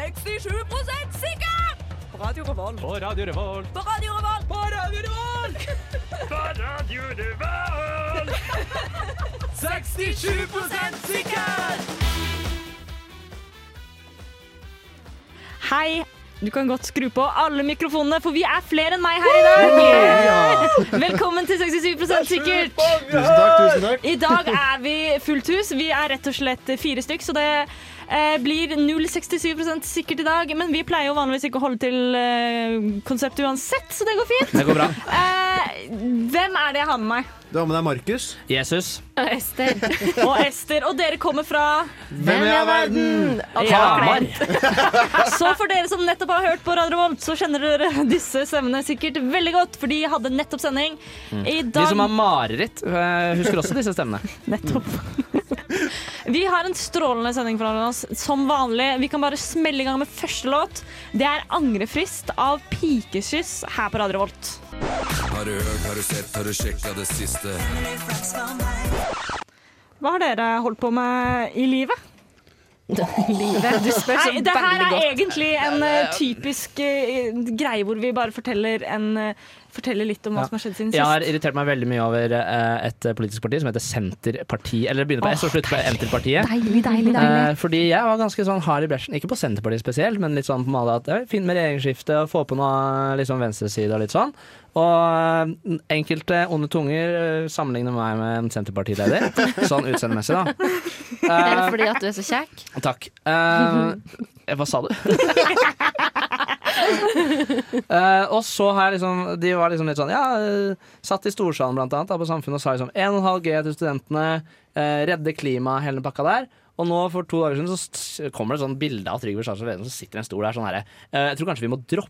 67 sikker! På Radio Revolt. På Radio Revolt. På Radio Revolt. På Radio Revolt! På Radio Revolt! 67 sikker! Hei. Du kan godt skru på alle mikrofonene, for vi er flere enn meg her i dag. Velkommen til 67 sikkert. Tusen takk, tusen takk. I dag er vi fullt hus. Vi er rett og slett fire stykk, så det eh, blir 0,67 sikkert i dag. Men vi pleier jo vanligvis ikke å holde til eh, konseptet uansett, så det går fint. Det går bra. Eh, hvem er det jeg har med meg? Du har med deg Markus. Jesus. Ester. Og Ester. Og dere kommer fra Hvem i all verden? Hamar. Så for dere som nettopp har hørt på Radio Volt, så kjenner dere disse stemmene sikkert veldig godt, for de hadde nettopp sending. I Mm. De dag som har mareritt, eh, husker også disse stemmene. Nettopp. Vi har en strålende sending foran oss, som vanlig. Vi kan bare smelle i gang med første låt. Det er 'Angrefrist' av Pikekyss her på Radio Volt. Har du hørt, har du sett, har du sjekka det siste? Hva har dere holdt på med i livet? Livet. Du spør så Nei, det her veldig er godt. egentlig en eh, typisk eh, greie hvor vi bare forteller, en, eh, forteller litt om hva Ja. som har skjedd siden Jeg har sist. irritert meg veldig mye over eh, et politisk parti som heter Senterpartiet. Eller det begynner på S og slutter på Enterpartiet. Mm-hmm. Deilig, deilig, deilig. Eh, fordi jeg var ganske sånn hard i bresjen, ikke på Senterpartiet spesielt, men litt sånn på male at eh, fint med regjeringsskifte og få på noe liksom venstreside og litt sånn. Og eh, enkelte onde tunger eh, sammenligner meg med en Senterpartileder, sånn utseendemessig, da. Er det fordi at du er så kjekk? Eh, takk. Eh, hva sa du? Eh, og så har jeg liksom De var liksom litt sånn Ja, eh, satt i storsalen blant annet da, på Samfunnet og sa liksom 1,5G til studentene, eh, redde klimaet, hele den pakka der. Og nå for to dager siden så st- kommer det et sånt bilde av Trygve Slagsvold Vedum som sitter i en stol der sånn herre eh, Jeg tror kanskje vi må droppe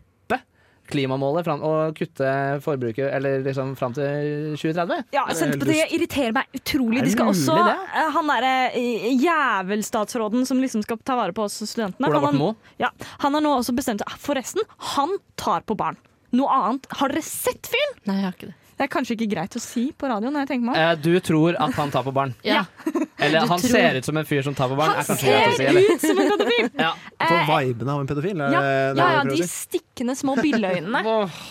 klimamålet fram, og kutte forbruket eller liksom fram til 2030. Ja, er Senterpartiet irriterer meg utrolig. Er De det skal mulig, også, det? eh, Han derre eh, jævelstatsråden som liksom skal ta vare på oss studentene Ola han, Borten Moe. ja, han har nå også bestemt seg Forresten, han tar på barn. Noe annet. Har dere sett fyren? Nei, jeg har ikke det. Det er kanskje ikke greit å si på radioen. når jeg tenker meg om. Eh, du tror at han tar på barn. Ja. Eller Du han tror- ser ut som en fyr som tar på barn. Han er kanskje greit å si, ser eller? ut som en pedofil! Ja. Får vibene av en pedofil. Eh, Er Ja, Eh, ja, det det du ja, prøver å de si? stikkende små billeøynene. Eh, Åh.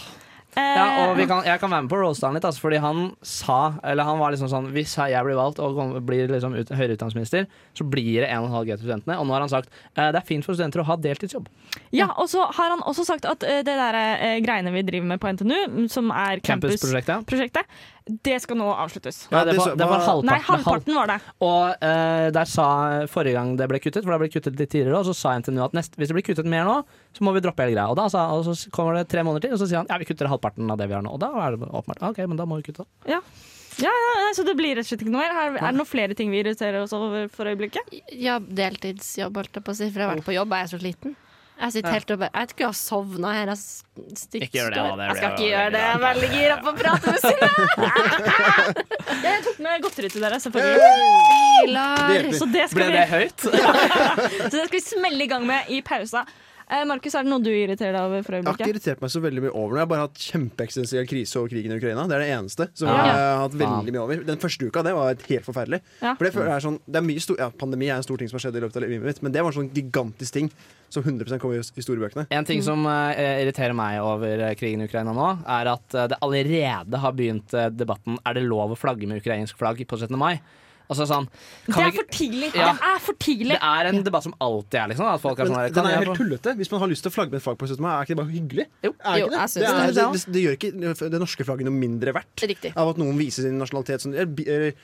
Ja, og vi kan, jeg kan være med på å roaste han litt, altså, fordi han sa Eller han var liksom sånn Hvis jeg blir valgt og kom- blir liksom ut, høyere utdanningsminister, så blir det 1,5G til studentene. Og nå har han sagt eh, det er fint for studenter å ha deltidsjobb. Ja, og så har han også sagt at eh, det der eh, greiene vi driver med på NTNU, mm, som er campusprosjektet, Campusprosjektet. det skal nå avsluttes. Nei, det det var, så- det var hva- halvparten. Nei, halv- halvparten var det. Og eh, der sa forrige gang det ble kuttet, for det ble kuttet litt tidligere, og så sa NTNU at nest, hvis det blir kuttet mer nå, så må vi droppe hele greia. Og, da, sa, og så kommer det tre måneder til, og så sier han ja, vi kutter halvparten av det vi har nå. Og da er det åpenbart OK, men da må vi kutte. Ja. Ja, ja, ja, så det blir rett og slett ikke noe mer. Her er det noen flere ting vi irriterer oss over for øyeblikket? ja, deltidsjobb, holdt jeg på å si, for jeg har vært på jobb, og jeg er så sliten. Jeg sitter helt oppe. Jeg tror jeg har sovna her. Jeg, stykker. Ikke gjør det, da, det jeg skal blir- ikke gjøre det. Jeg er veldig gira på å prate med Synne. Jeg tok med godteri til dere, selvfølgelig. Det Pilar. hjelper. Så det Ble skal vi, det høyt? så det skal vi smelle i gang med i pausa. Eh, Markus, er det noe du irriterer deg over for Jeg har ikke øyeblikket? irritert meg så veldig mye over det. Jeg har bare hatt kjempeeksistensiell krise over krigen i Ukraina. Det er det eneste som Ja. jeg har hatt veldig mye over. Den første uka det var et helt forferdelig. Ja. For det, føler jeg er sånn, det er mye stor, ja, Pandemi er en stor ting som har skjedd i løpet av livet mitt, men det var en sånn gigantisk ting som 100 kommer i historiebøkene. En ting som eh, irriterer meg over eh, krigen i Ukraina nå, er at eh, det allerede har begynt eh, debatten Er det lov å flagge med ukrainsk flagg på 17. mai. Altså sånn kan Det vi er ikke- for tidlig! Ja. Det er for tidlig! det er en debatt som alltid er liksom. At folk er Men sånn her, den kan er jo jeg helt få- tullete. Hvis man har lyst til å flagge med et flagg på 17. mai, er ikke det bare hyggelig? Jo. er Jo, ikke jeg det? synes Det, er, det. det, det, det gjør ikke det norske flagget noe mindre verdt Riktig. av at noen viser sin nasjonalitet som eller bi- eller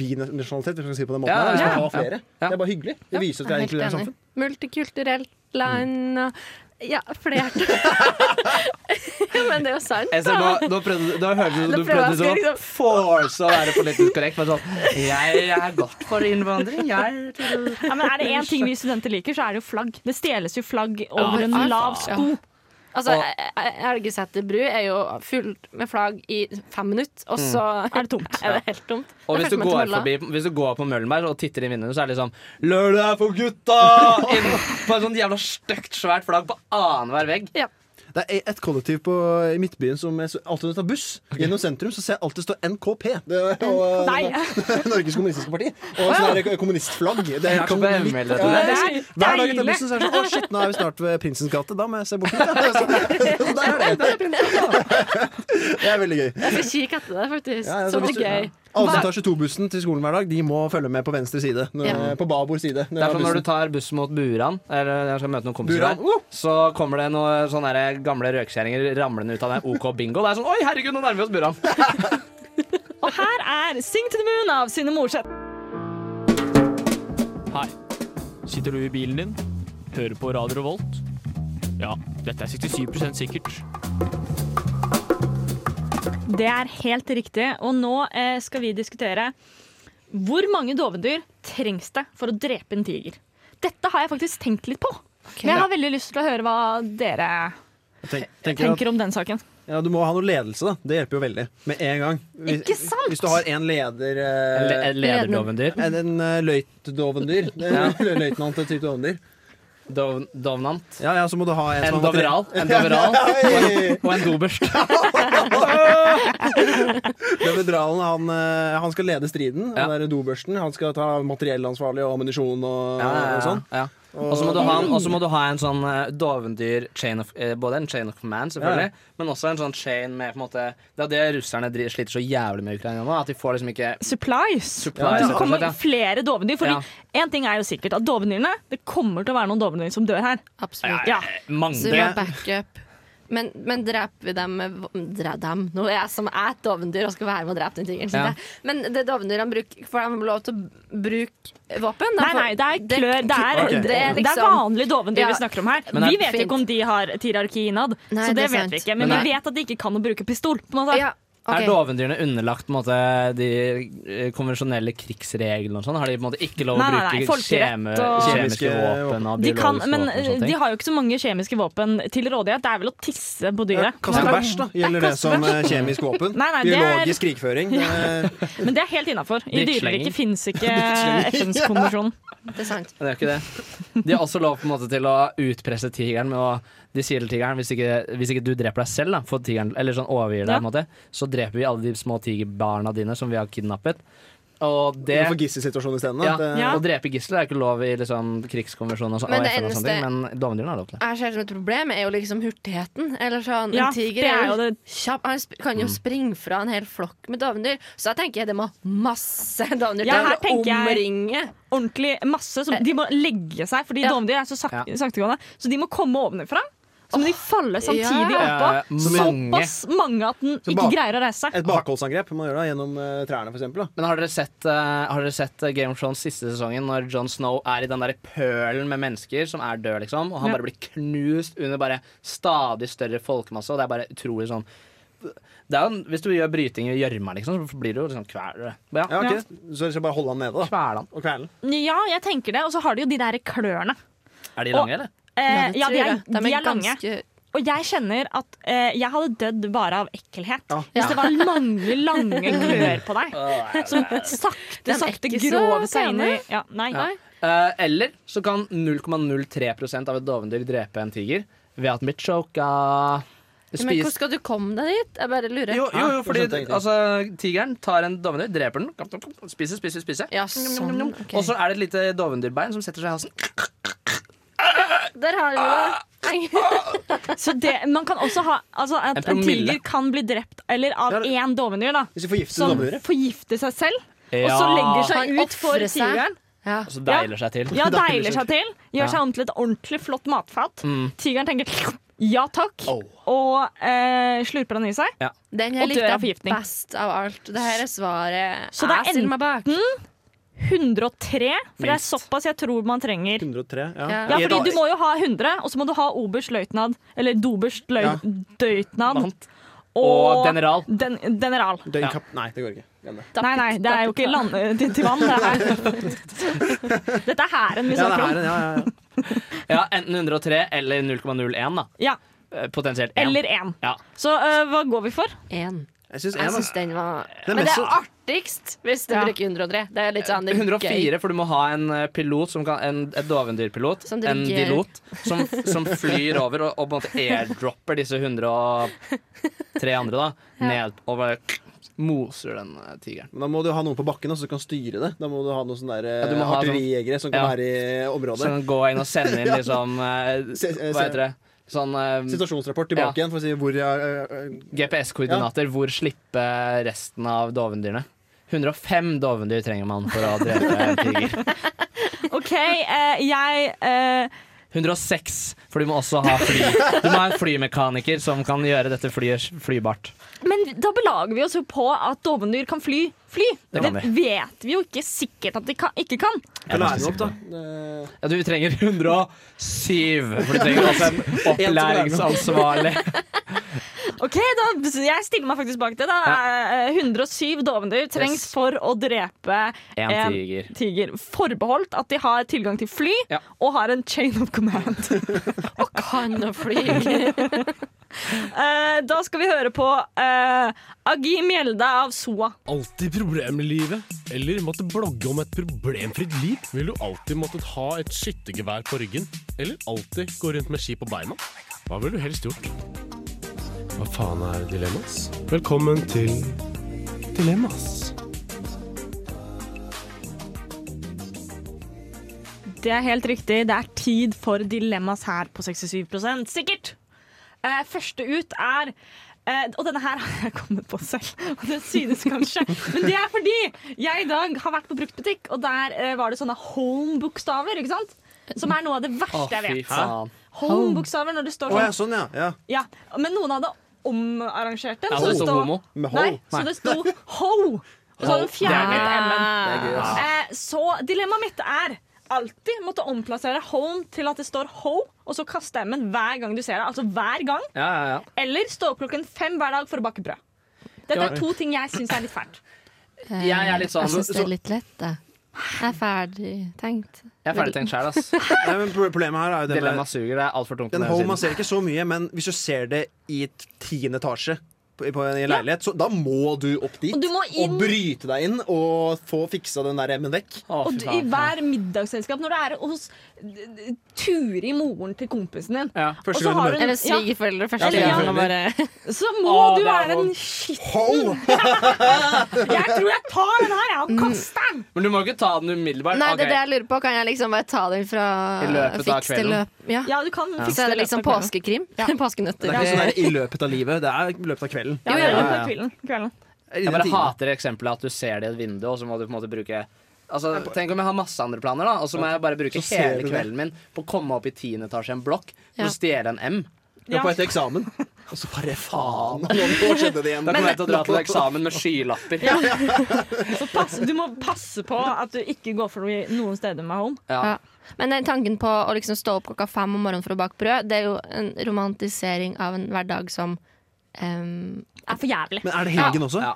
binasjonalitet, hvis man kan si det på den måten. Ja, her, hvis ja, man ja. har flere. Ja. Det er bare hyggelig. Det viser at vi er Jeg er inkludert helt samfunn. enig. Multikulturelt land og Ja, flert. ja, men det er jo sant. Jeg ser, nå, nå prøvde, da hørte du, Nå du prøver prøvde jeg sånn å liksom- force å være politisk korrekt. Men sånn, jeg, jeg er godt for innvandring, jeg. er til- Ja, men er det én ting vi studenter liker, så er det jo flagg. Det stjeles jo flagg over Ja, en faen. lav sko. Altså, Og- Elgeseter bru er jo fullt med flagg i fem minutter, og så Er det tomt? er det helt tomt. Og Jeg hvis du, følte meg går tåla. forbi, hvis du går på Møllenberg og titter i vinduene, så er det liksom sånn 'Lørdag er for gutta!' Inn, på et sånt jævla stygt, svært flagg på annenhver vegg. Ja. Det er et kollektiv på, i Midtbyen som jeg så- alltid når jeg tar buss gjennom sentrum, så ser jeg alltid stå NKP. Det er, og, Nei. Norges kommunistiske parti. Og sånn der kommunistflagg. Det er Jeg helt kan sånn bemelde hvitt. til det. Ja, Det er Hver dag etter deilig. bussen så er det sånn Å, shit, nå er vi snart ved Prinsens gate. Da må jeg se bort litt. da». Så, så der er det. Det er veldig gøy. Jeg skal kikke etter det, faktisk. Ja, ja, så så hvis det du- er gøy. Alle som tar 22-bussen til skolen hver dag, de må følge med på venstre side. Når, Ja. På babord side. Det er som når du tar buss mot Buran, eller når jeg skal møte noen kompiser Buran, der, uh! oh! så kommer det noen sånne der gamle røykskjæringer ramlende ut av den OK bingo. Det er sånn Oi, herregud, nå nærmer vi oss Buran. Og her er Sing to the Moon av Synne Morseth. Hei. Sitter du i bilen din? Hører på Radio Revolt? Ja, dette er 67 sikkert. Det er helt riktig. Og nå eh, skal vi diskutere hvor mange dovendyr trengs det for å drepe en tiger. Dette har jeg faktisk tenkt litt på. Men jeg har veldig lyst til å høre hva dere Tenk, tenker at, tenker om den saken. ja, du må ha noe ledelse, da. Det hjelper jo veldig. Med en gang. Hvis, Ikke sant? hvis du har en leder eh, Le- et Lederdovendyr. en, en eh, løytdovendyr. Ja. Eh, Løytnant et type dovendyr. Dov, dovnant. Ja, ja, så må du ha en, En som har vært- doveral. En doveral. Hei! Og en doberst. Doveralen, han, eh, han skal lede striden. Ja. Han der dobørsten. Han skal ta materiellansvarlig og ammunisjon og, Ja, ja, og sånn. ja. Og så må, du ha en- og så må du ha en sånn eh, dovendyr chain of, eh, Både en chain of command, selvfølgelig, men også en sånn chain med på en måte Det er det russerne dri- sliter så jævlig med i Ukraina nå, at de får liksom ikke Supplies. Supplies, Så ja, kommer akkurat, flere dovendyr. Fordi Ja. én ting er jo sikkert, at dovendyrene Det kommer til å være noen dovendyr som dør her. Absolutt. Ja. Så mange vi må ha backup. Men, men dreper vi dem med vå- dre, dem. Nå er jeg som er et dovendyr og skal være med og drepe den tigeren. skjønner Ja. jeg. Men det dovendyrene bruker, får de lov til å bruke våpen? De Nei, får- nei, det er klør. Det er, Ok. det er, liksom- vanlige dovendyr Ja. vi snakker om her. Men er- Vi vet jo Fint. ikke om de har et hierarki innad, Nei, så det, det er vet vi sant. ikke. Men Men vi vet at de ikke kan å bruke pistol. På en måte. Ja, ok. Er dovendyrene underlagt på en måte, de eh, konvensjonelle krigsreglene? og sånn? Har de på en måte ikke lov å Nei, nei, bruke nei, kjeme, folkerett og- kjemiske Kjemiske våpen og De biologiske kan, men våpen? eh, og sånne de ting? har jo ikke så mange kjemiske våpen til rådighet. Det er vel å tisse på Ja, dyret. Kaste Men- bæsj, da. Gjelder det som eh, kjemisk våpen? Nei, nei, det er- Biologisk krigføring. eh, Det er... Men det er helt innafor. I Drittslenging. dyreriket fins ikke Drittslenging. FNs-konvensjonen. Det er sant. Men det er jo ikke det. De har også lov på en måte til å utpresse tigeren med å De sier til tigeren hvis ikke, hvis ikke du dreper deg selv, da, for tigeren, eller sånn overgir deg, på Ja. en måte, så dreper vi alle de små tigerbarna dine som vi har kidnappet. Og det For gisselsituasjonen isteden. ja, at, eh, Ja. Å drepe gisler er ikke lov i liksom, krigskonvensjonen og, så, Men og det FN og sånne ting, eneste- men dovendyrene har lov til det. Jeg ser det som et problem er jo liksom hurtigheten. Eller sånn, Ja, en tiger det er er jo jo det- kjapp. Han sp- kan jo Mm. springe fra en hel flokk med dovendyr. Så jeg tenker det må masse dovendyr Ja, her til å tenker jeg- omringe. Ordentlig masse som De må legge seg, fordi Eh. Ja. dovendyr er så sak Ja. saktegående. Så de må komme ovenfra. Så må de falle samtidig ja. oppå. Eh, mange. Såpass mange at den Så ikke bak- greier å reise seg. Et bakholdsangrep man gjør da, gjennom eh, trærne, for eksempel. Da. Men har dere sett, eh, har dere sett eh, Game of Thrones siste sesongen, når Jon Snow er i den der pølen med mennesker som er død, liksom, og han Ja. bare blir knust under bare stadig større folkemasse, og det er bare utrolig sånn det er jo, en- Hvis du gjør bryting i gjørma, liksom, så blir du jo liksom kvel. Ja, Ja, ok. Så dere skal bare holde han nede da. kvelan. og kvele han. Ja, jeg tenker det. Og så har de jo de der klørne. Er de Og- lange, eller? Eh, Nei, det ja, tror de er, jeg. De de er lange. ganske- Og jeg kjenner at eh, jeg hadde dødd bare av ekkelhet. Ja. Hvis det var lange, lange klør på deg. Som De sakte, er sakte ikke så grov seg inn i pene. ja, Nei. Ja. Eh, eller så kan 0,03 av et dovendyr drepe en tiger ved at den blir choka. Ja, Men hvordan skal du komme deg dit? Jeg bare lurer. Jo, jo, jo, fordi skjønte jeg ingenting. altså, tigeren tar en dovendyr, dreper den, spiser, spiser, spiser. Ja, sånn, ok. Og så er det et lite dovendyrbein som setter seg i halsen. Der har Ah! du det. Så det, man kan også ha altså En at en, promille. tiger kan bli drept eller av Ja, det- én dovendyr, da. Hvis vi forgifter Som dovendyret. forgifter seg selv, og så Ja. legger Han seg ut for offrer seg. tigeren. Ja. Og så deiler seg til. Ja, Det er deiler seg til. Ja. Gjør seg om til et ordentlig flott matfat. Tigeren tenker ja takk, Oh. og eh, slurper den i seg. Den jeg Og dør likte av forgiftning. best av alt. Det her er svaret Så det er jeg stiller meg bak. 103, for det er Minst. såpass jeg tror man trenger. 103, ja. Ja. Ja, I et fordi annet- du må jo ha 100, og så må du ha oberstløytnant, eller doberstløytnant, Og general. Den, general. Døgnkapp... Nei, det går ikke. Glem det. Nei, nei, det er jo ikke land, til, til vann, det her. Dette er hæren vi Ja, det snakker er, om. ja, ja, ja. Ja, enten 103 eller 0,01, da. Ja, Eh, Potensielt én. eller én. Ja. Så øh, hva går vi for? Én. Jeg synes, Jeg syns den var er Men det mest er så- artigst hvis du Ja. bruker 103. Det er litt sånn det er gøy. 104, for du må ha en eh, pilot som kan, en, et dovendyrpilot, Som en dirigerer. dilot, som, som flyr over og, og på en måte airdropper disse 103 andre da, ned og bare moser den eh, tigeren. Men da må du ha noen på bakken også, som kan styre det. Da må du ha noen sånne der, Ja, du må ha sånn- artillerjegere som kan Ja. være i området. Så den går inn og sender inn liksom eh, Se- eh, Hva se- heter det? Sånn eh, Situasjonsrapport Ja. tilbake igjen for å si hvor jeg eh, eh, GPS-koordinater. Hvor slippe resten av dovendyrene? 105 dovendyr trenger man for å drepe en tiger. OK, eh, jeg eh, 106, for du må også ha fly. Du må ha en flymekaniker som kan gjøre dette flyet flybart. Men da belager vi oss jo på at dovendyr kan fly. Fly! Det kan de. vet vi jo ikke sikkert at de kan, ikke kan. Jeg er lære ganske den opp, sikker på da. det. Eh, Ja, du trenger 107, for du trenger altså en opplæringsansvarlig. Ok, da, Jeg stiller meg faktisk bak det. da Eh, 107 dovendyr trengs Yes. for å drepe En En tiger. tiger. Forbeholdt at de har tilgang til fly Ja. og har en chain of command. Kan å fly. Eh, da skal vi høre på eh, Agi Mjelde av SOA. Alltid problemer i livet? Eller måtte blogge om et problemfritt liv? Vil du alltid måttet ha et skyttergevær på ryggen? Eller alltid gå rundt med ski på beina? Hva ville du helst gjort? Hva faen er dilemmas? Velkommen til Dilemmas. Det er helt riktig. Det er tid for dilemmas her på 67 sikkert. Eh, første ut er eh, og denne her har jeg kommet på selv, og det synes kanskje. Men det er fordi jeg i dag har vært på bruktbutikk, og der eh, var det sånne home-bokstaver. ikke sant? Som er noe av det verste jeg fy vet. faen. Home-bokstaver når det står Å ja, sånn. sånn, ja. ja. Ja, Men noen hadde omarrangert dem. Ja, så det det står sto- homo. Med Nei, hold. så det sto ho. Og så Ho. hadde den fjernet m-en. Ah. Eh, så dilemmaet mitt er alltid måtte omplassere home til at det står ho, og så kaste m-en hver gang du ser det. Altså hver gang. Ja, ja, ja. Eller stå opp klokken fem hver dag for å bake brød. Dette er to ting jeg syns er litt fælt. Eh, Jeg er litt sånn- Jeg syns det så- er litt lett, det. Jeg er ferdig tenkt. Jeg er ferdig tenkt sjæl, ass. Nei, men pro- problemet her er jo det Dilemma med suger. Det er altfor tungt. på Den den home, siden. man ser ikke så mye, men hvis du ser det i et tiende etasje på, på en i en leilighet, så da må du opp dit Og du må inn. og bryte deg inn og få fiksa den der eh, M-en vekk. Å, Og fy du, i faen. hver middagsselskap, når du er hos d- d- Turi, moren til kompisen din, Ja. og Første så gang du har møter hun Eller ja, svigerforeldre Ja, første gang. svigerforeldre. og bare- Så må Å, du det er være en vondt. shit Hold! Jeg tror jeg tar den her jeg, og Mm. kaster den! Men du må ikke ta den umiddelbart. Nei, det er Ok. det jeg lurer på. Kan jeg liksom bare ta den fra I løpet av fiks til kvelden. løp? Ja. Ja, du kan fikse Så er det liksom i løpet av kvelden. påskekrim. Påskenøtter. Det er ikke sånn der i løpet av livet, det er i løpet av kvelden. Ja, i ja, løpet ja. av kvelden. kvelden. Jeg Innen bare timen. hater eksempelet at du ser det i et vindu, og så må du på en måte bruke Altså, Tenk om jeg har masse andre planer, da, og så må jeg bare bruke Så ser hele du det. kvelden min på å komme opp i tiende etasje i en blokk for Ja. å stjele en M. Du er på vei til eksamen, og så bare faen! Nå nå skjedde det igjen. Da kommer jeg til å dra til eksamen med skylapper. Ja. Så pass, du må passe på at du ikke går forbi noen steder med home. Ja. Men den tanken på å liksom stå opp klokka fem om morgenen for å bake brød, det er jo en romantisering av en hverdag som em, Det er for jævlig. Men er det helgen også? Ja.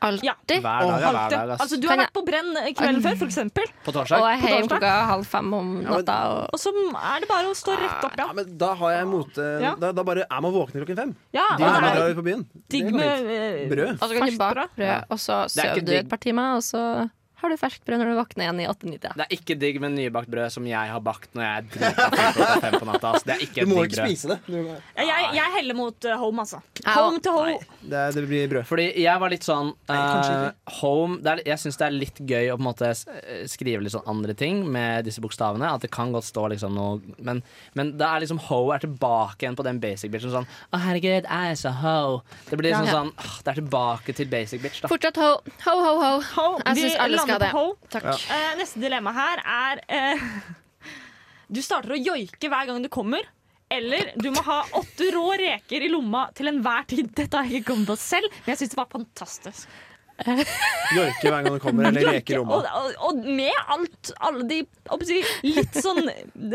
alltid Ja. Hver dag, hver Alltid. dag. Altså, ass. du har Kan vært på Brenn kvelden før, for eksempel. På Og torsdag. er På hjem torsdag? klokka halv fem om natta. Og, Og så er det bare å stå rett opp, ja. Ja, men da har jeg mote Ja. da, da bare er man våken klokken fem. ja og Da er man det drar er ut på byen. Det digg går fint. med eh, Brød. og så kan du Ferskt bake brød. brød, og så Det er ikke sover du digg. et par timer, og så har du ferskt brød når du våkner igjen i åtte-nitida. Det er ikke digg med nybakt brød som jeg har bakt når jeg er drita klokka fem på natta. ass. Det er ikke Du et må digg ikke brød. spise det. Du- ja, jeg, jeg heller mot eh, home, altså. Ja. Home to home. Det, er- det blir brød. Fordi jeg var litt sånn kanskje eh, Home det er, Jeg syns det er litt gøy å på en måte s- eh, skrive litt sånn andre ting med disse bokstavene. At det kan godt stå liksom noe Men, men da er liksom ho er tilbake igjen på den basic bitchen. Sånn Å, herregud, I is a ho. Det blir liksom Ja. sånn «Åh, Det er tilbake til basic bitch, da. Fortsatt ho, ho, ho, ho. Ho, Jeg vi syns alle lander på skal det. ho. Takk. Eh, neste dilemma her er eh, Du starter å joike hver gang du kommer. Eller du må ha åtte rå reker i lomma til enhver tid. Dette har jeg ikke kommet på selv, men jeg syns det var fantastisk. Joike hver gang du kommer, eller reker i Joike, og, rommet. og, og med alt, alle de hva skal jeg si, litt sånn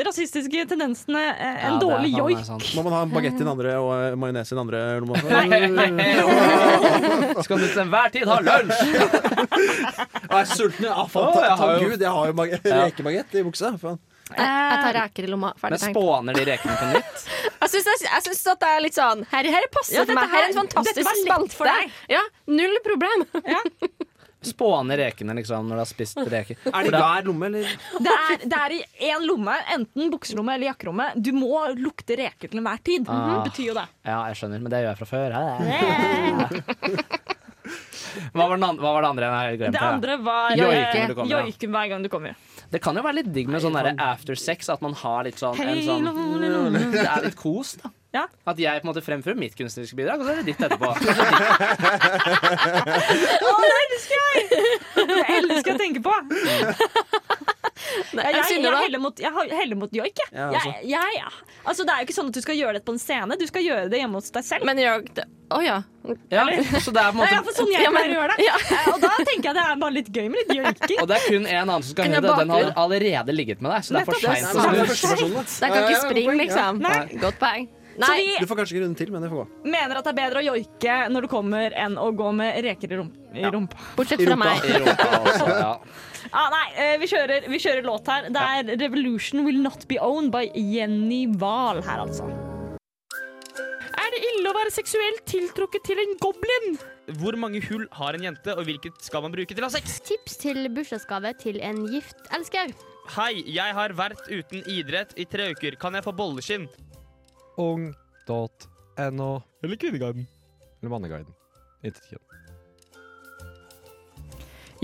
rasistiske tendensene eh, Ja, En det er dårlig faen meg sånn. joik. sant. Må man ha bagett i den andre og eh, majones i den andre lomma? også? Skal du til enhver tid ha lunsj? Jeg er sulten. Ja, faen, Å, jeg ta- har takk jo- Gud, jeg har jo bag- rekebagett i buksa. Faen. Eh, Jeg tar reker i lomma. Ferdig Men tenkt. spåner de rekene på nytt? Jeg syns, jeg, jeg syns at det er litt sånn Her, her passer Ja, for dette meg. Her er her- en fantastisk dette var lett for spalte. deg. Ja, null problem. Spåner rekene, liksom, når du har spist reker? Er det i hver lomme, eller? Det er, det er i én lomme, enten bukselomme eller jakkelomme. Du må lukte reker til enhver tid. Ah. Det betyr jo det. Ja, jeg skjønner, men det gjør jeg fra før. Hva var, den andre, hva var det andre jeg har glemt? her, Det da? andre var Joike. eh, Når du kommer, ja. joike hver gang du kommer. Det kan jo være litt digg med sånn der after sex, at man har litt sånn, en sånn Det er litt kos, da. Ja. At jeg på en måte fremfører mitt kunstneriske bidrag, og så er det ditt etterpå. Jeg elsker å tenke på! Mm. Jeg, jeg, jeg, synder da. heller mot, jeg har- heller mot joik, jeg. Ja, jeg, jeg altså, det er jo ikke sånn at du skal gjøre det på en scene. Du skal gjøre det hjemme hos deg selv. Men jeg Å ja. Ja, så det er på en det er i hvert fall måte sånn jeg Ja, men- pleier å gjøre det. Eh, Og da tenker jeg det er bare litt gøy med litt joiking. Og det er kun en annen som skal Kan høre jeg det, og den har bakgrunn? allerede ligget med deg. Så det er for Nettopp. seint. Så å det snu. er første versjon, da. Den kan Ja, ja, ikke godt springe, poeng, ja. liksom. Godt poeng. Så Nei. vi Du får kanskje ikke runden til, men det får gå. mener at det er bedre å joike når du kommer, enn å gå med reker i, rump i rumpa. Bortsett fra meg. I rumpa også, ja. Ah, nei, eh, vi kjører, vi kjører låt her. Det er 'Revolution Will Not Be Owned' by Jenny Wahl her, altså. Er det ille å være seksuelt tiltrukket til en goblin? Hvor mange hull har en jente, og hvilket skal man bruke til å ha sex? Tips til bursdagsgave til en gift elsker. Hei, jeg har vært uten idrett i tre uker. Kan jeg få bolleskinn? ung.no Eller Kvinneguiden. eller Manneguiden. Intet kjønn.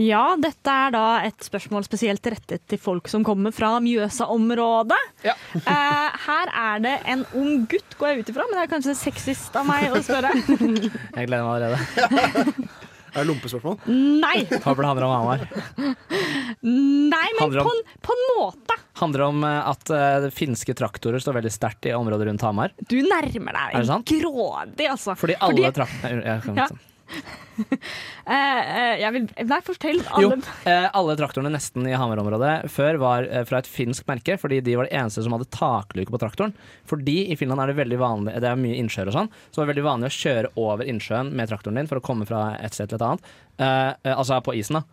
Ja, dette er da et spørsmål spesielt rettet til folk som kommer fra Mjøsa-området. Ja. Eh, her er det en ung gutt, går jeg ut ifra, men det er kanskje sexist av meg å spørre. Jeg gleder meg allerede. Er det lompespørsmål? Nei, Håper det handler om Hamar. nei men Handler om- på en, på en måte. Handler om eh, at eh, finske traktorer står veldig sterkt i området rundt Hamar. Du nærmer deg Er det sant? grådig, altså. Fordi alle traktorene jeg kan liksom- Ja. ikke- eh, eh, jeg vil, Nei, fortell. Jo, Alle. eh, alle traktorene nesten i Hamar-området før var eh, fra et finsk merke, fordi de var det eneste som hadde takluke på traktoren. Fordi i Finland er det veldig vanlig, det er mye innsjøer og sånn, så det er veldig vanlig å kjøre over innsjøen med traktoren din for å komme fra et sted til et annet. Eh, eh, altså på isen, da.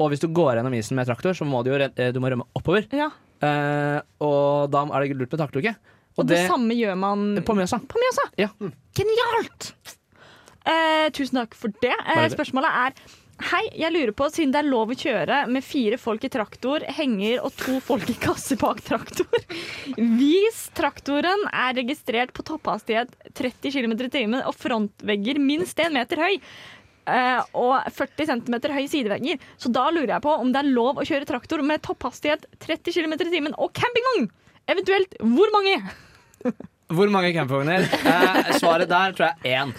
Og hvis du går gjennom isen med traktor, så må du jo re- eh, du må rømme oppover. Ja. Eh, og da er det lurt med takluke. Og, det, samme gjør man på Mjøsa. på Mjøsa. Ja. Genialt! Eh, tusen takk for det. Eh, Bare det. spørsmålet er Hei, jeg lurer på, siden det er lov å kjøre med fire folk i traktor, henger og to folk i kasse bak traktor Hvis traktoren er registrert på topphastighet 30 km i timen og frontvegger minst 1 meter høy, eh, og 40 cm høye sidevegger, så da lurer jeg på om det er lov å kjøre traktor med topphastighet 30 km i timen og campingvogn! Eventuelt hvor mange? Hvor mange campingvogner? Eh, svaret der tror jeg er én.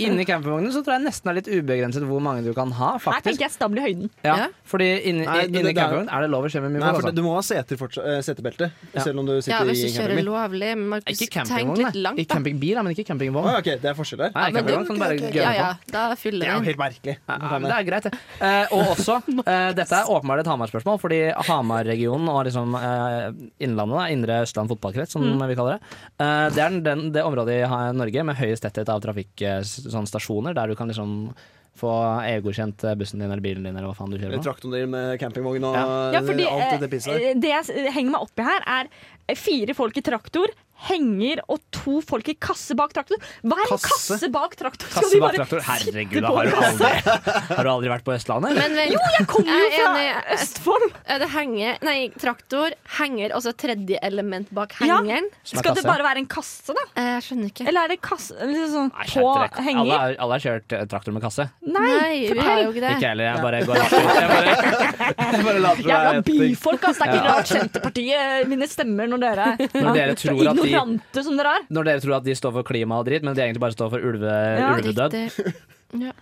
Inni campingvognen så tror jeg nesten det er litt ubegrenset hvor mange du kan ha, Her faktisk. tenker jeg stabel i høyden. Ja, Ja. fordi inni, Nei, det- inni det- det er- campingvognen er det lov å kjøre med mye Nei, folk. for Altså. du må ha seter fortsatt, eh, setebeltet, selv om du sitter Ja, hvis i du kjører campingbil. lovlig. men Markus, Ikke tenk campingvogn, litt nei. langt, Ikke da. campingbil, ja, men ikke Å, campingvogn. ja, ok, det er forskjell der. Nei, men campingvogn kan du bare gønne Ja, ja, på. da Det fyller er jo den. helt merkelig. Ja, men det er greit, det. Eh, og også, eh, dette er åpenbart et Hamar-spørsmål, fordi Hamar-regionen og liksom eh, Innlandet, da, Indre Østland fotballkrets, som vi kaller det, eh, det er den, det området i ha- Norge med høyest tetthet av trafikkstasjoner, sånn stasjoner, der du kan liksom få EU-godkjent eh, bussen din eller bilen din eller hva faen du kjører Eller med. Traktoren din med campingvogn og Eh, Ja, fordi, alt det pisset der. eh, det jeg s- henger meg opp i her, er eh, fire folk i traktor, henger og to folk i kasse bak traktor. Hva er en Kasse? kasse bak traktor? Skal Kasse de bak bare traktor, herregud, sitte da på har du en kasse? aldri, har du aldri vært på Østlandet? eller? Men eh, vent, Jeg kommer jo Jeg er enig. fra Østfold. er eh, det henger Nei, traktor, henger, og så tredje element bak Ja. hengeren? Som er Skal det kasse. bare være en kasse, da? Eh, Jeg skjønner ikke. Eller er det kasse liksom sånn Nei, skjønte på dere. Alle, henger? har- alle har kjørt eh, traktor med kasse. Nei, vi har jo ikke Ikke jeg det. heller, jeg bare går rett ut. Jeg bare, jeg bare later som Jævla jeg vet ikke. byfolk, ass. Det er ikke rart Senterpartiet mine stemmer når dere, Når dere Så tror at de- ignorante som dere er. Når dere tror at de står for klima og dritt, men de egentlig bare står for ulve, Ja. ulvedød. Riktig.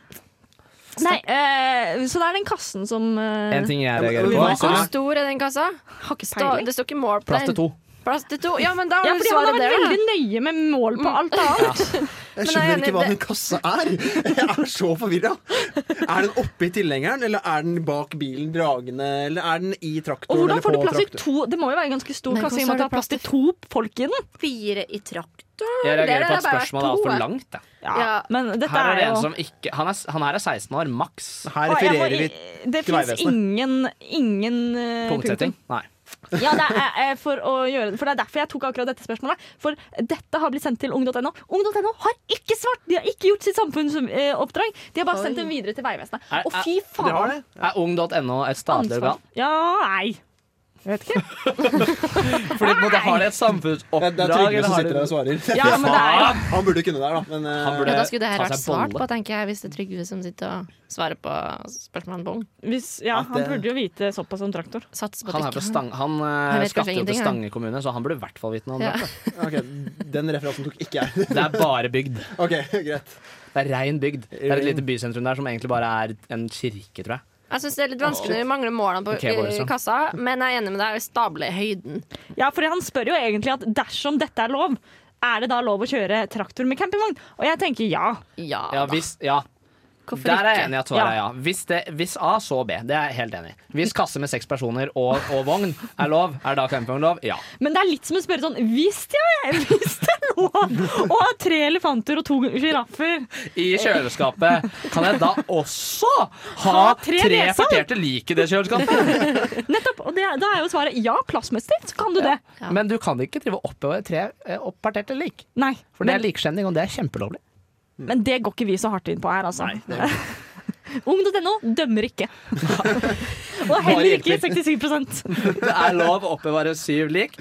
Nei, eh, så det er den kassen som eh, En ting jeg men- reagerer Hva på, Hvor sa er du? stor er den kassa? har ikke Stå, det står ikke mål på plass til den. to. Plass til to. Ja, men da Ja, har du fordi han har svaret der. vært da. Mm. veldig nøye med mål på alt annet. Jeg Men skjønner jeg er ikke hva enig, den kassa er! Jeg er så forvirra! Er den oppi tilhengeren, eller er den bak bilen dragende, eller er den i Og traktoren? hvordan eller får du på plass til traktoren? to? Det må jo være en ganske stor Men kasse i og hvordan med at det er har du plass til plass to folk i den. Fire i traktor? Jeg reagerer Der på er at det bare spørsmålet er to, altfor jeg. langt. da. Ja. Men dette Her er det jo en som ikke Han er, han her er 16 år, maks. Her Å, jeg må refererer vi i- Det fins Vegvesenet. ingen, ingen eh, Punktsetting. punktum. Nei. Ja, det er, eh, for, å gjøre, for det er derfor jeg tok akkurat dette spørsmålet. For dette har blitt sendt til ung.no. Ung.no har ikke svart! De har ikke gjort sitt samfunnsoppdrag. De har bare sendt dem videre til Vegvesenet. Er- Og fy er- faen! de har det. Er ung.no et statlig Ansvar. organ? Ja, nei. Jeg vet ikke. Fordi på en måte har det et samfunnsoppdrag? Det er Trygve eller som har sitter det- der og svarer. Ja, men det er- Han burde kunne det her, da. Men, eh, Han Ja, da skulle det her ta vært seg svart bolle. på, tenker jeg, hvis det er Trygve som sitter og svarer på spørsmålene på ung. Hvis, ja, At han det- burde jo vite såpass om traktor. Satser på Han, er at fra ikke Stang, han, eh, vet kanskje skatter jo til ingenting, Stange kommune, så han burde i hvert fall vite noe om Ja. det. ok, Den referansen tok ikke jeg. Det er bare bygd. Ok, greit. Det er rein bygd. Det er et lite bysentrum der som egentlig bare er en kirke, tror jeg. Jeg syns det er litt vanskelig når vi mangler målene på Ok, jeg går eh, også. kassa, men jeg er enig med deg. Stable i høyden. Ja, for han spør jo egentlig at dersom dette er lov, er det da lov å kjøre traktor med campingvogn? Og jeg tenker ja. Ja, Ja, da. hvis, ja. Hvorfor Der er jeg ikke? enig i at svaret er ja. Hvis, det, hvis A, så B. Det er jeg helt enig i. Hvis kasse med seks personer og, og vogn er lov, er da campingvogn lov? Ja. Men det er litt som å spørre sånn Hvis det er, hvis det er lov å ha tre elefanter og to sjiraffer I kjøleskapet kan jeg da også ha, Ha tre tre, nesal? parterte lik i det kjøleskapet? Nettopp! Og det, da er jo svaret ja, plassmessig så kan du det. Ja. Men du kan ikke drive og oppbevare tre eh, oppparterte lik. Nei, For det er likskjending, og det er kjempelovlig. men det går ikke vi så hardt inn på her, altså. Ung.no dømmer ikke. og heller ikke 67 Det er lov å oppbevare syv lik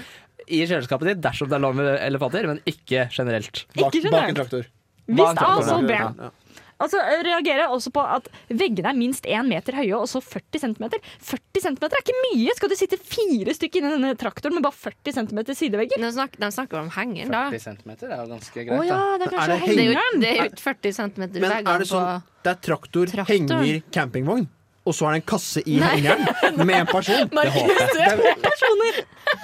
i kjøleskapet ditt dersom det er lov med elefanter, men ikke generelt. Bak, Ikke bak en generelt. traktor. Hvis A, traktor, så ja. B. Ja. Altså, jeg reagerer også på at veggene er minst én meter høye og så 40 cm. 40 cm er ikke mye! Skal du sitte fire stykker inni denne traktoren med bare 40 cm sidevegger? De snakker, de snakker om hengeren, da. 40 cm er jo ganske Å greit, ja, da. det er Er kanskje det Det er jo, hengeren! det er jo ikke 40 cm Men er det veggene på sånn det er traktor, Traktor. henger, campingvogn, og så er det en kasse i hengeren med en person? Det håper jeg. Personer!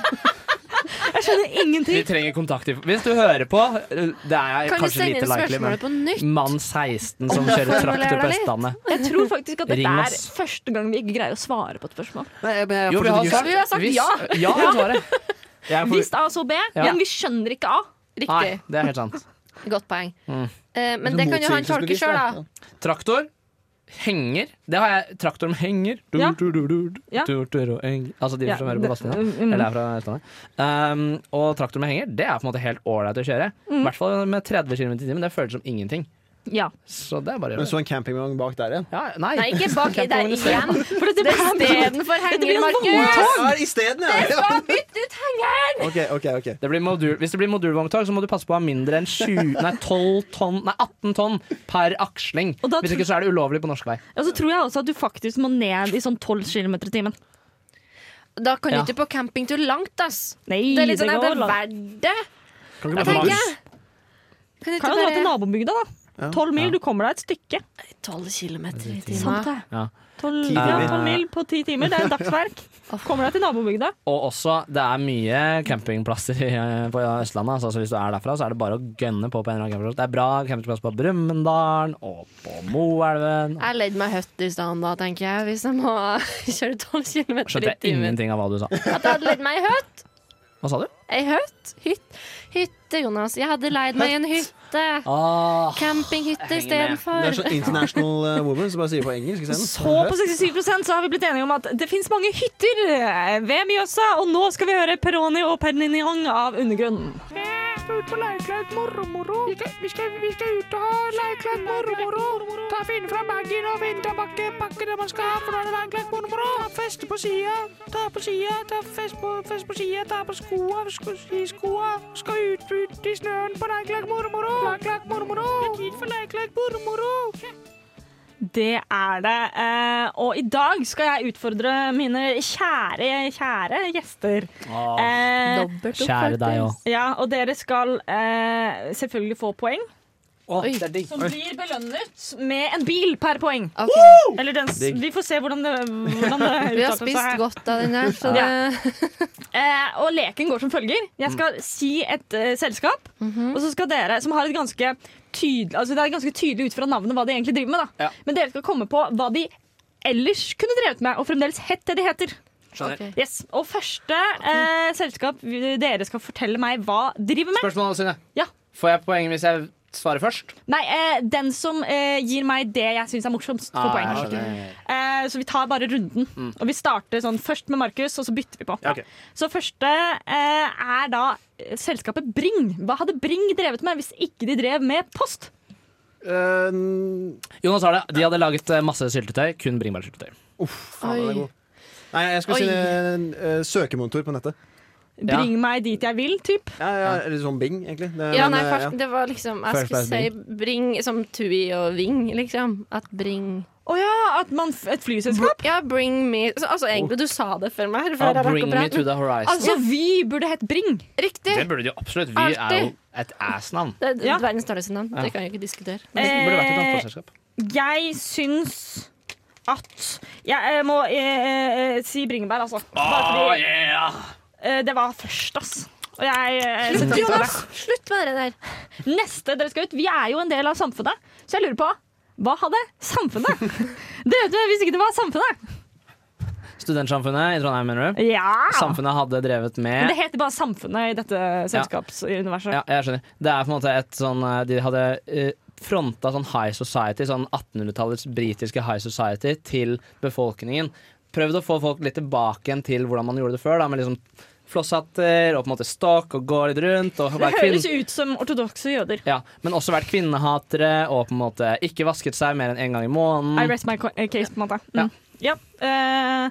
Jeg skjønner Vi ingenting. trenger kontaktinfo. Hvis du hører på, det er Kan du kanskje sende lite likely, inn men spørsmålet på nytt? mann 16 som kjører traktor på Formuler deg litt. Østlandet. Jeg tror faktisk at dette Ring er oss. første gang vi ikke greier å svare på et spørsmål. Nei, jeg- jeg Jo, vi har fortsatt sagt, ikke- Vi har sagt hvis- ja. ja er svaret. Jeg er for- Hvis A, så B. Ja. Men vi skjønner ikke A. Nei, Riktig. det er helt sant. Godt poeng. Mm. Eh, men det kan jo han tolke Motsigelsesbevisst, sjøl, da. da. Traktor. Henger. Det har jeg. Traktor med henger. Du, Ja. du, du, du, du, Ja. du, du, og henger. Altså de Ja, som hører det- på Vazelina. mm. Eller er fra Østlandet. Um, og traktor med henger, det er på en måte helt ålreit å kjøre. I hvert fall med 30 km i timen. Det føles som ingenting. Ja. Så det er bare å Men gjøre. så en campingvogn bak der igjen. Ja, nei. Nei, ikke baki der Campingvognen igjen. For det, Det er istedenfor blir henger, jo Markus. Ja, Isteden, ja! Bare Bytt ut hengeren! OK, OK. ok Det blir modul, hvis det blir modulvogntog, så må du passe på å ha mindre enn 20, nei, 12 tonn, nei, 18 tonn per aksling. Og da Hvis tror- ikke så er det ulovlig på norsk vei. Og så tror jeg også at du faktisk må ned i sånn 12 km i timen. Da kan du Ja. ikke på campingtur langt, ass. Nei, Det er litt sånn at går det er langt. verdt det, Kan ikke tenker bare jeg. Kan du Kan ikke jo dra til bare nabobygda, da. 12 mil, du kommer deg et stykke. 12 km i Sant timen? det. Ja. 12, Ti ja, timer. 12 mil på 10 timer, det er dagsverk. Kommer deg til nabobygda. Og også, det er mye campingplasser i- på Østlandet. Altså, så hvis du er derfra, så er det bare å gønne på på en eller annen campingplass. Det er bra campingplass på Brumunddalen og på Moelven. Jeg leide meg høtt i stand da, tenker jeg, hvis jeg må kjøre 12 km i Skjønte jeg timen. ingenting av hva du sa. At jeg hadde leid meg ei høtt. Hva sa du? Ei høtt? Hytt. Hytte, Jonas. Jeg hadde leid meg en hytte. Ah, Jeg henger med. Campinghytte Det er istedenfor. sånn international eh, woman som bare sier på engelsk. Ikke sant? Så på 67 så har vi blitt enige om at det fins mange hytter eh, ved Mjøsa, og nå skal vi høre Peroni og Perninion av Undergrunnen. skal ut på leirkleik moro-moro. Vi, skal- vi, skal- vi skal ut og ha leirkleik moro-moro. Ta Finne fram bagen og finne tilbake pakke det man skal ha. for da er det leirkleik moro-moro. Ta feste på sida, ta på sida, ta fest på, fest på sida, ta på skoa, sko, skiskoa. Skal ut, ut i snøen på leirkleik moro-moro. Leirkleik moro-moro. Det er tid for leirkleik moro-moro. Det er det. eh, Og i dag skal jeg utfordre mine kjære, kjære gjester. Eh, kjære deg òg. Ja, og dere skal eh, selvfølgelig få poeng. det er digg. Som blir belønnet med en bil per poeng. Ok. Eller den, s- vi får se hvordan det, hvordan det Vi har utarter seg spist her. godt av den der, så det Ja. Eh, og leken går som følger. Jeg Mm. skal si et eh, selskap, Mhm. og så skal dere, som har et ganske tydelig Altså Det er ganske tydelig ut fra navnet hva de egentlig driver med, da. Ja. Men dere skal komme på hva de ellers kunne drevet med, og fremdeles het det de heter. Ok. Yes. Og første eh, selskap vi- dere skal fortelle meg hva driver med. Spørsmål, Synne. Ja. Får jeg poeng hvis jeg svare først? Nei, eh, den som eh, gir meg det jeg syns er morsomst, får Ah, poeng. jeg skjønner. Eh, så vi tar bare runden. Og vi starter sånn først med Markus, og så bytter vi på. Mm. Ja, ok. Så første eh, er da eh, selskapet Bring. Hva hadde Bring drevet med hvis ikke de drev med post? Eh, Jonas har det. De hadde laget eh, masse syltetøy. Kun bringebærsyltetøy. Faen, den er god. Nei, jeg skulle si eh, eh, søkemotor på nettet. Bring meg dit jeg vil, typ. Ja, ja, eller sånn Bing, egentlig. Det, Ja, men, nei, eh, fars, ja. det var liksom Jeg First skulle class si bring som Tui og Ving, liksom. At bring Å ja, at man, et flyselskap? Ja, bring me så, Altså, egentlig, du sa det før meg. Oh. Ja, bring me to the horizon. Altså, vi burde hett Bring. Riktig. Det burde de jo absolutt. Vi er jo Alltid. et ass-navn. Det er Ja. verdens dårligste navn. Ja. Det kan jeg ikke diskutere. burde vært et Eh, transportselskap. Jeg syns at Jeg eh, må eh, eh, si bringebær, altså. Bare fordi eh, det var først, ass. Og jeg eh, setter Slutt, pris på det. Jonas! Slutt med det der. Neste dere skal ut. Vi er jo en del av samfunnet, så jeg lurer på hva hadde samfunnet drevet med hvis ikke det var samfunnet? Studentsamfunnet i Trondheim, mener du? Ja. Samfunnet hadde drevet Men med det heter bare Samfunnet i dette selskapsuniverset. Ja, jeg skjønner. Det er på en måte et sånn eh, De hadde eh, fronta sånn high society, sånn 1800-tallets britiske high society, til befolkningen. Prøvd å få folk litt tilbake igjen til hvordan man gjorde det før, da, med liksom flosshatter og på en måte stokk og gå litt rundt. Og Det være kvinn- høres ut som ortodokse jøder. ja, men også vært kvinnehatere og på en måte ikke vasket seg mer enn én en gang i Mm. måneden. I rest my co- eh, case, på en måte. Mm. Ja. eh,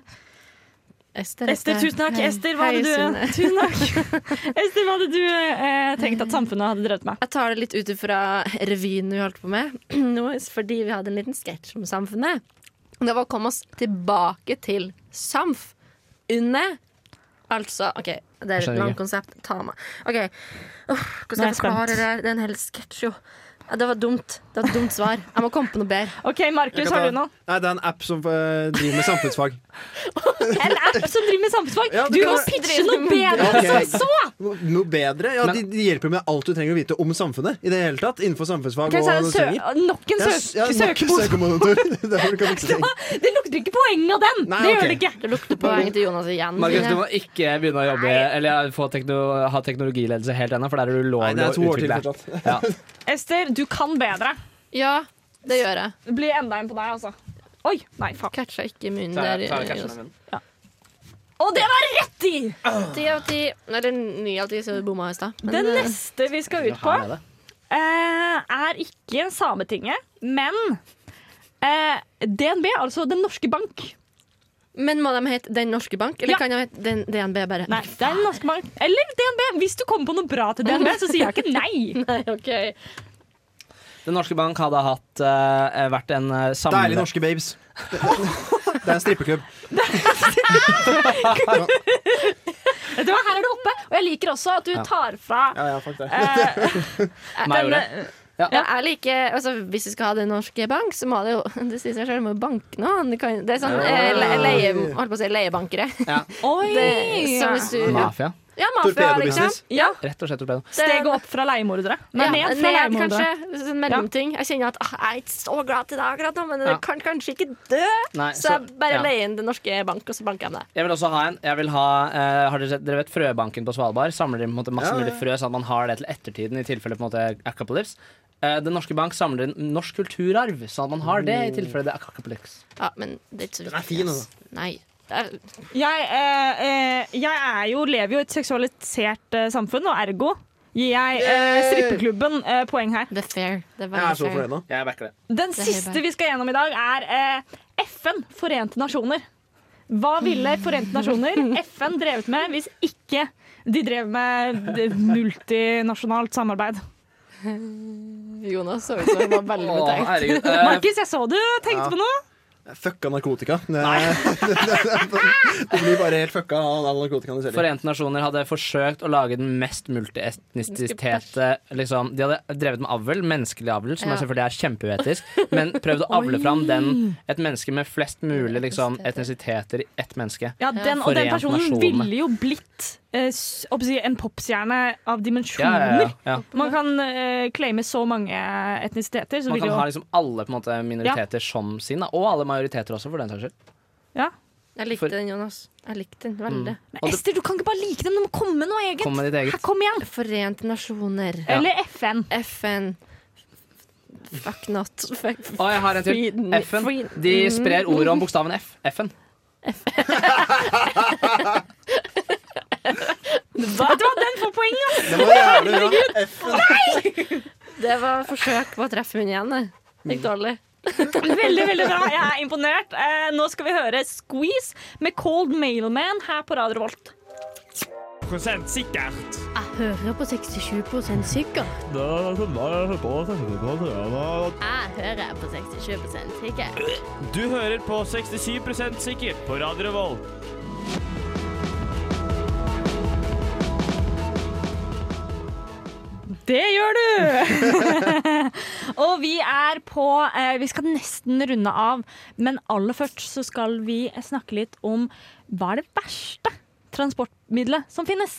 Ester, Ester, tusen takk. Ester, hva hadde du, tusen takk. Ester, hva hadde du eh, tenkt at samfunnet hadde drevet med? Jeg tar det litt ut ifra revyen vi holdt på med nå, fordi vi hadde en liten sketsj om samfunnet. Det var å komme oss tilbake til samf. Under. Altså OK, Jeg det er skjønner et langt ikke. konsept. Ta meg. OK. Uff, hvordan Nå er jeg skal jeg forklare spent. det? her? Det er en hel sketsj, jo. Ja, Det var dumt. Det var et dumt svar. Jeg må komme på noe bedre. OK, Jeg Markus, kan har ta- du noe? Nei, det er en app som eh, driver med samfunnsfag. En app som driver med samfunnsfag? Ja, du det kan må være- pitche noe Ja, bedre ok. enn som så! Noe bedre? Ja, de, de hjelper med alt du trenger å vite om samfunnet. I det hele tatt, Innenfor samfunnsfag Ok, så er og det sø nok en Ja, s- søk ja, nok en søkebok. søkemotor. Det er hvor du kan fikse ting. Det lukter ikke poeng av den! Nei, det ok. gjør det ikke. Det lukter poeng til Jonas igjen. Markus, du må ikke begynne å jobbe Eller få tekno, ha teknologiledelse helt ennå, for der er det det ulovlig er å to år til utvikle. Ja. Ester, du kan bedre. Ja, det gjør jeg. Det blir enda en på deg, altså. Oi, nei, faen. Catcha ikke munnen Ta- der. ta catchen Jonas. av munnen. Ja. Og det var rett i! Ti av ti. Eller ni av ti, så du bomma i stad. Men, Den eh, neste vi skal ut på, her er det. eh, er ikke Sametinget, men eh, DNB, altså Den norske bank. Men må de hete Den norske bank, eller Ja. kan de hete den, DNB bare? Nei, det er Den norske bank. Eller DNB. Hvis du kommer på noe bra til DNB, så sier jeg ikke nei. Nei, ok Den norske bank hadde hatt, eh, vært en uh, samle... Deilige norske babes. Det er en strippeklubb. Vet du hva, her er du oppe. Og jeg liker også at du Ja. tar fra Ja, ja, fuck det. Eh, Meg gjorde Den, eh, ja. jeg liker, altså, hvis vi skal ha Den norske bank, så må det jo Det sier seg selv, må jo banke noen. Det, kan, det er sånn Ja. eh, le- leie, holdt på å si leiebankere. Ja. Oi! Det- så hvis du- Mafia. Ja, mafia, liksom. Torpedobusiness. Ja. Rett og slett torpedo. Steget opp fra leiemordere. Nei, Ja, ned fra ned, leiemordere. kanskje. Sånn mellomting. Jeg kjenner at ah, jeg er ikke så glad til det akkurat nå, men jeg Ja. kan kanskje ikke dø. Nei, så, så- jeg bare ja. leier inn Den norske bank, og så banker jeg med det. Jeg vil også ha en. Jeg vil ha, eh, har dere sett, dere vet Frøbanken på Svalbard? Samler inn på en måte masse Ja, ja, ja. mulige frø, sånn at man har det til ettertiden i tilfelle på en måte acapolypse. Den norske bank samler inn norsk kulturarv, sånn at man har det i Mm. tilfelle det er acapolypse. Ja, men det er ikke så viktig. fin, altså. ass. Nei. Det er- Jeg, eh, eh, jeg er jo, lever jo i et seksualisert eh, samfunn, og ergo gir jeg eh, strippeklubben eh, poeng her. Det er fair. Det er Jeg er så fornøyd nå. Jeg backer det. Den Det er siste fair. vi skal gjennom i dag, er eh, FN, Forente nasjoner. Hva ville Forente nasjoner, FN, drevet med hvis ikke de drev med d- multinasjonalt samarbeid? Jonas så ut som han var veldig Å, betenkt. herregud. Eh, Markus, jeg så du tenkte ja. på noe. Fucka narkotika. Det, det blir bare helt fucka av all narkotikaen du selger. Forente nasjoner hadde forsøkt å lage den mest multietnistitete liksom, De hadde drevet med avl, menneskelig avl, som Ja. er selvfølgelig er kjempeuetisk, men prøvd å avle fram den, et menneske med flest mulig liksom, etnisiteter i ett menneske. Ja, den, og den Forente personen nasjonene. ville jo blitt eh, s- å si, en popstjerne av ja, dimensjoner. ja, ja, ja. Man kan eh, claime så mange etnisiteter. Så Man kan vil jo, ha liksom alle på en måte, minoriteter som sin, da. og alle majoriteter også, for den saks skyld. ja. Jeg likte den, Jonas. Jeg likte den veldig. Mm. Men Ester, du kan ikke bare like dem, du må komme med noe eget. Kom med ditt eget. Her, kom igjen! Forente nasjoner. Ja. Eller FN. FN. Fuck not. Fuck Og jeg har en til. Freeden- F-en. freeden. De sprer ordet om bokstaven F. F-en. Vet du hva, den får poeng, ass! Det var jævlig bra. F. Det var forsøk på å treffe hun igjen. det. Mm. Gikk dårlig. Veldig, veldig bra. Jeg er imponert. Eh, nå skal vi høre Squeeze med Cold Mailman her på Radio Volt. Prosent sikkert. Jeg hører på 67 sikkert. Jeg hører på 67 sikkert. Du hører på 67 sikkert på Radio Revolt. Det gjør du! og vi er på eh, Vi skal nesten runde av, men aller først så skal vi snakke litt om hva er det verste transportmiddelet som finnes.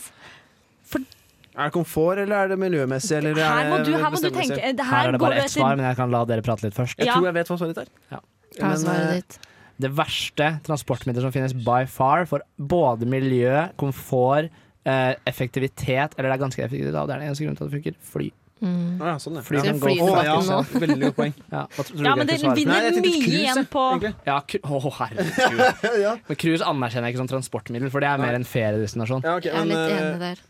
Er det komfort, eller er det miljømessig? Eller eh, er Her må det du, her må du bestemmelse? tenke. Det Her er det går bare du ett etter- svar, men jeg kan la dere prate litt først. Jeg Ja. tror jeg vet hva svaret ditt er. Hva er Men, svaret eh, ditt? Det verste transportmiddelet som finnes by far for både miljø, komfort, eh, effektivitet Eller det er ganske effektivt, da. Det er den eneste grunnen til at det funker. Fly. Mm. Å ja, sånn, ja. Fly Ja. kan fly gå Å, snakker ja. nå. Veldig godt poeng. Ja, hva tror du Ja, jeg men ikke det svarer? Nei, vinner jeg tenkte mye cruise, igjen jeg, på egentlig. Ja, cru- Å, herregud. ja. Men cruise anerkjenner jeg ikke som transportmiddel, for det er mer en feriedestinasjon. Ja, ok, Jeg er men, litt eh, enig der.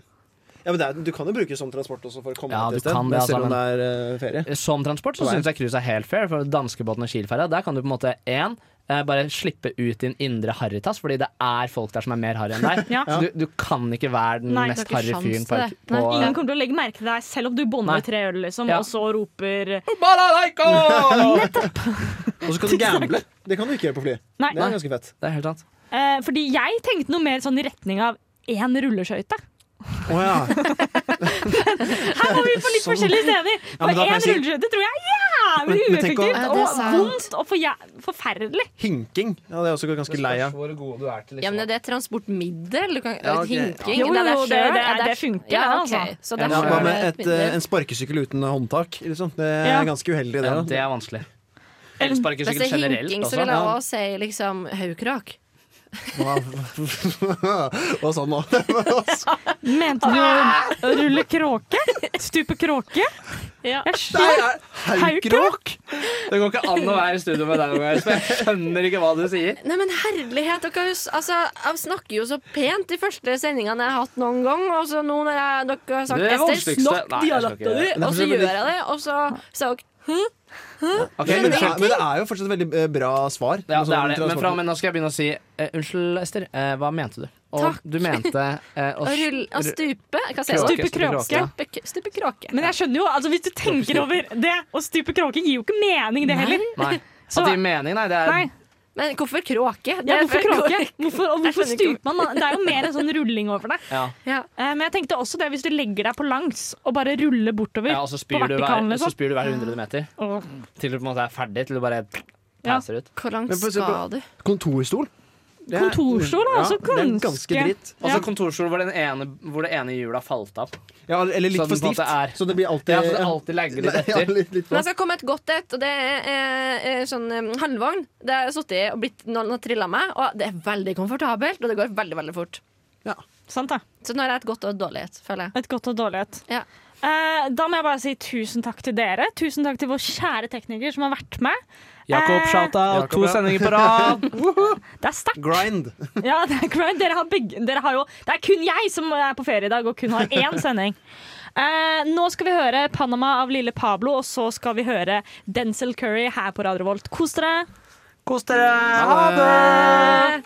ja, men det er, du kan jo bruke det som transport også for å komme Ja, deg du til et sted, kan det, altså, selv om det er eh, ferie. Som transport så Nei. syns jeg cruise er helt fair, for danskebåten og Kielferja, der kan du på en måte én bare slippe ut din indre harrytass, fordi det er folk der som er mer harry enn deg. Ja. Så du, du kan ikke være den Nei, mest du har ikke harry fyren sjans på, til det. på Nei, Ingen kommer til å legge merke til deg selv om du Nei. bonder tre øl, liksom, Ja. og så roper Balalaiko! Og så kan du gamble. Det kan du ikke gjøre på flyet. Nei. Det er ganske fett. Det er helt sant. Eh, fordi jeg tenkte noe mer sånn i retning av én rulleskøyte. Å ja. Her var vi på litt Sånn. forskjellige steder. Ja, For men da én kan jeg si- rulleskøyte tror jeg er jævlig Men- men tenk å- ueffektivt Ja, det er og sant. vondt og forjæ- forferdelig. Hinking. Ja, det er også ganske lei av. hvor god du er til Ja, men det er transportmiddel. Du kan, Ja, ok. Hinking. Jo, det er deg jo, det- selv, det- er deg det selv. funker, Ja, det, ok. altså. Så Ja, det Ja, er hva selv med er et, eh, middel. en sparkesykkel uten håndtak? Liksom. Det Ja. er ganske uheldig, det. Ja, da. det er vanskelig. Hvis Elsparkesykkel det er generelt hinking, så også. vil jeg også si liksom haukrak. Hva sa han nå? Mente du å rulle kråke? Stupe kråke? Ja. Jeg Nei, skjønner. er- Haukrock! Det går ikke an å være i studio med deg noen ganger, så jeg skjønner ikke hva du sier. Nei, men herlighet, dere har jo s- altså, Jeg snakker jo så pent de første sendingene jeg har hatt noen gang. Og så nå når jeg, dere har sagt Det er Ester, vanskeligste- snakk Nei, jeg skal ikke dialekta di! gjøre det. Og så gjør jeg det, og så sa dere Ok, men, det unnskyld. er, men det er jo fortsatt veldig eh, bra svar. Ja, med det er sånn det. Men, fra, transport- men nå skal jeg begynne å si eh, Unnskyld, Ester. eh, hva mente du? Og Takk. du mente eh, å å s- rulle og ru- stupe. Hva Kråke, sier jeg? Stupe stupe kråke. kråke, ja. Stupe, stupe kråke. Men jeg skjønner jo, altså hvis du tenker over det, å stupe kråke gir jo ikke mening, det heller. Nei. Så- At det gir mening, nei. Det er Nei. Men hvorfor kråke? Ja, Det er- hvorfor kråke? Hvorfor, og hvorfor Jeg skjønner ikke. stuper man? Det er jo mer en sånn rulling over det. Ja. Ja. Eh, Men jeg tenkte også det hvis du legger deg på langs og bare ruller bortover. ja, og så spyr, På du hver, vertikalen, liksom. så spyr du hver 100 meter Åh. til du på en måte er ferdig, til du bare Ja. passer ut. Hvor langt Men for å se på- skal du? Kontorstol. Det er- Kontorstol er også det er ganske ganske- dritt. Og så Ja. kontorstol hvor, den ene- hvor det ene hjulet har falt av. Ja, eller litt Så den for Sånn på en stivt. måte er- Så Sånn det blir alltid Ja, så det alltid legger litt sånn. Ja, etter. litt, litt Men for- jeg skal komme et godt et, og det er eh, eh, sånn eh, halvvogn. Det har jeg sittet i og blitt, noen har trilla meg, og det er veldig komfortabelt, og det går veldig, veldig fort. Sant, da. Så nå har jeg et godt og et dårlig et, føler jeg. Et godt og dårlig et. Ja. Eh, da må jeg bare si tusen takk til dere. Tusen takk til vår kjære tekniker som har vært med. Jakob, Eh, shout-out. Jakob, To ja. sendinger på rad. Det er sterkt. Grind. Ja, det er great. Dere har begge, dere har jo, det er kun jeg som er på ferie i dag og kun har én sending. Eh, nå skal vi høre 'Panama' av Lille Pablo, og så skal vi høre Denzil Curry her på Radio Volt. Kos dere! Kos dere. Ha det!